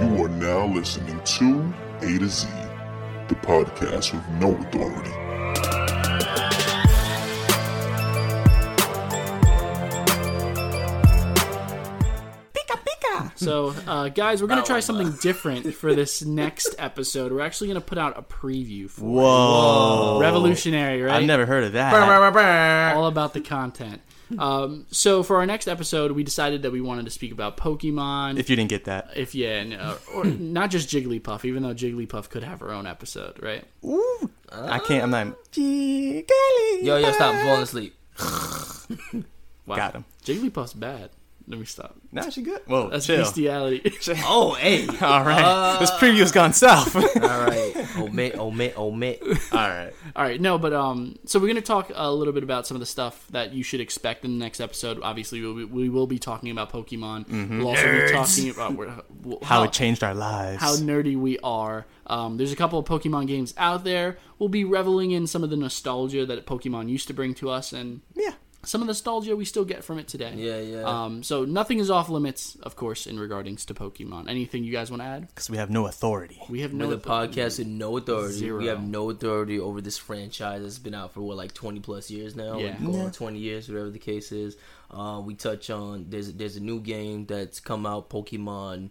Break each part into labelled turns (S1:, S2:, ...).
S1: You are now listening to A to Z, the podcast with no authority.
S2: So, uh, guys, we're gonna try something different for this next episode. We're actually gonna put out a preview for it.
S3: Whoa.
S2: revolutionary, right?
S3: I've never heard of that.
S2: all about the content. Um, so for our next episode, we decided that we wanted to speak about Pokemon.
S3: If you didn't get that.
S2: if yeah, and, uh, or not just Jigglypuff, even though Jigglypuff could have her own episode, right? Uh,
S3: I can't, I'm not.
S4: Yo, yo, stop I'm falling asleep.
S2: Wow.
S3: Got him.
S2: Jigglypuff's bad. Let me stop.
S3: Now she good. Whoa,
S2: That's Uh,
S3: chill.
S2: bestiality.
S4: Oh, hey. All
S3: All right. this preview's gone south. All
S4: right. Omit, omit, omit.
S3: right.
S2: All right, no, but um, so we're gonna talk a little bit about some of the stuff that you should expect in the next episode. Obviously, we'll be, we will be talking about Pokemon. We'll also be talking about where- wh-
S3: Mm-hmm. How it changed our lives.
S2: how nerdy we are. Um, there's a couple of Pokemon games out there. We'll be reveling in some of the nostalgia that Pokemon used to bring to us, and
S3: yeah.
S2: some of the nostalgia we still get from it today.
S4: Yeah, yeah.
S2: Um, so nothing is off limits, of course, in regardings to Pokemon. Anything you guys want to add?
S3: Because we have no authority.
S2: We have no
S4: We're the podcast with no authority.
S2: Zero.
S4: We have no authority over this franchise that's been out for what like twenty plus years now.
S2: Yeah.
S4: Like, going on twenty years, whatever the case is. Uh, we touch on there's there's a new game that's come out, Pokemon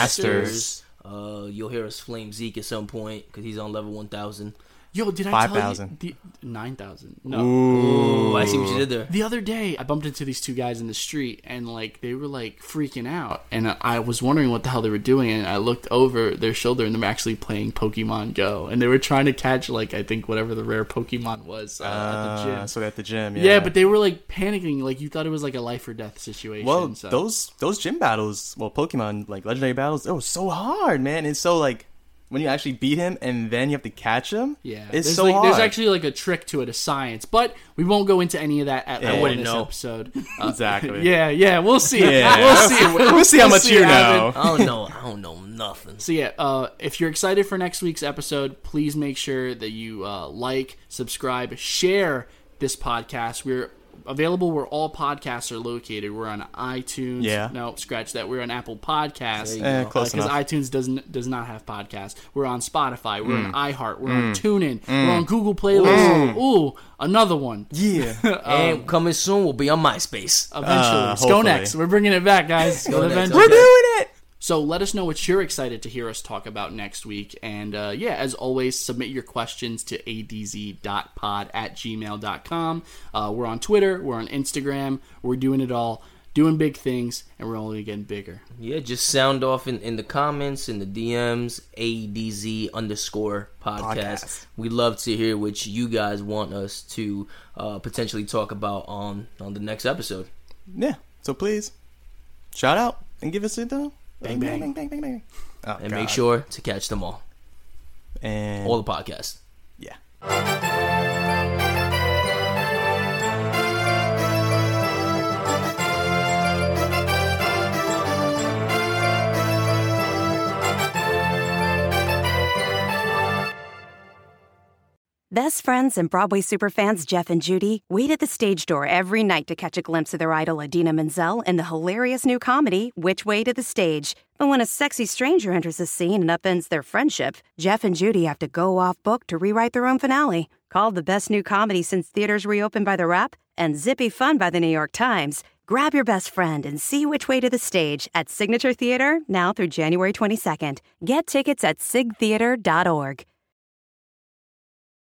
S3: Masters.
S4: Uh, you'll hear us flame Zeke at some point because he's on level one thousand.
S2: Yo, did I
S3: Five
S2: tell
S3: thousand.
S2: you the nine thousand? No.
S4: Oh, I see what you did there.
S2: The other day, I bumped into these two guys in the street, and like they were like freaking out, and I- I was wondering what the hell they were doing, and I looked over their shoulder, and they were actually playing Pokemon Go, and they were trying to catch like I think whatever the rare Pokemon was uh, at the
S3: Uh,
S2: gym.
S3: so at the gym. Yeah,
S2: yeah. but they were like panicking, like you thought it was like a life or death situation.
S3: Well,
S2: so.
S3: those those gym battles, well, Pokemon like legendary battles, it was so hard, man. It's so like when you actually beat him and then you have to catch him.
S2: Yeah,
S3: it's
S2: there's
S3: so
S2: like,
S3: hard.
S2: There's actually like a trick to it, a science, but we won't go into any of that at all in
S3: wouldn't
S2: this
S3: know.
S2: episode. Uh,
S3: exactly.
S2: yeah, yeah, we'll see.
S3: Yeah.
S2: We'll see.
S3: We'll see how
S2: We'll
S3: much
S2: see
S3: you
S2: what
S3: know.
S4: I don't know. I don't know nothing.
S2: So yeah, uh, if you're excited for next week's episode, please make sure that you uh, like, subscribe, share this podcast. We're available where all podcasts are located. We're on iTunes.
S3: Yeah.
S2: No, scratch that. We're on Apple Podcasts.
S3: Eh, close
S2: because
S3: enough.
S2: iTunes doesn't does not have podcasts. We're on Spotify. We're
S3: Mm.
S2: on iHeart. We're on TuneIn. We're on Google Playlists. Ooh, another one.
S3: yeah.
S4: and Um, Uh, coming soon will be on MySpace.
S2: Eventually, let's go
S3: uh, hopefully.
S2: next. We're bringing it back, guys.
S4: Go next,
S2: Eventually.
S4: okay.
S3: We're doing it.
S2: So let us know what you're excited to hear us talk about next week. And uh, yeah, as always, submit your questions to adz.pod at gmail.com. Uh, we're on Twitter, we're on Instagram, we're doing it all, doing big things, and we're only getting bigger.
S4: Yeah, just sound off in, in the comments, in the DMs, ADZ underscore podcast.
S3: Podcast.
S4: We love to hear what you guys want us to uh, potentially talk about on, on the next episode.
S3: Yeah. So please, shout out and give us a though.
S2: Bang, bang.
S3: bang, bang, bang, bang. Oh,
S4: And
S3: God.
S4: make sure to catch them all,
S3: and
S4: all the podcasts.
S3: yeah.
S5: Best friends and Broadway superfans Jeff and Judy wait at the stage door every night to catch a glimpse of their idol Adina Menzel in the hilarious new comedy, Which Way to the Stage. But when a sexy stranger enters the scene and upends their friendship, Jeff and Judy have to go off book to rewrite their own finale. Called the best new comedy since theaters reopened by The Rap and Zippy Fun by The New York Times, grab your best friend and see Which Way to the Stage at Signature Theater now through January 22nd. Get tickets at sigtheater.org.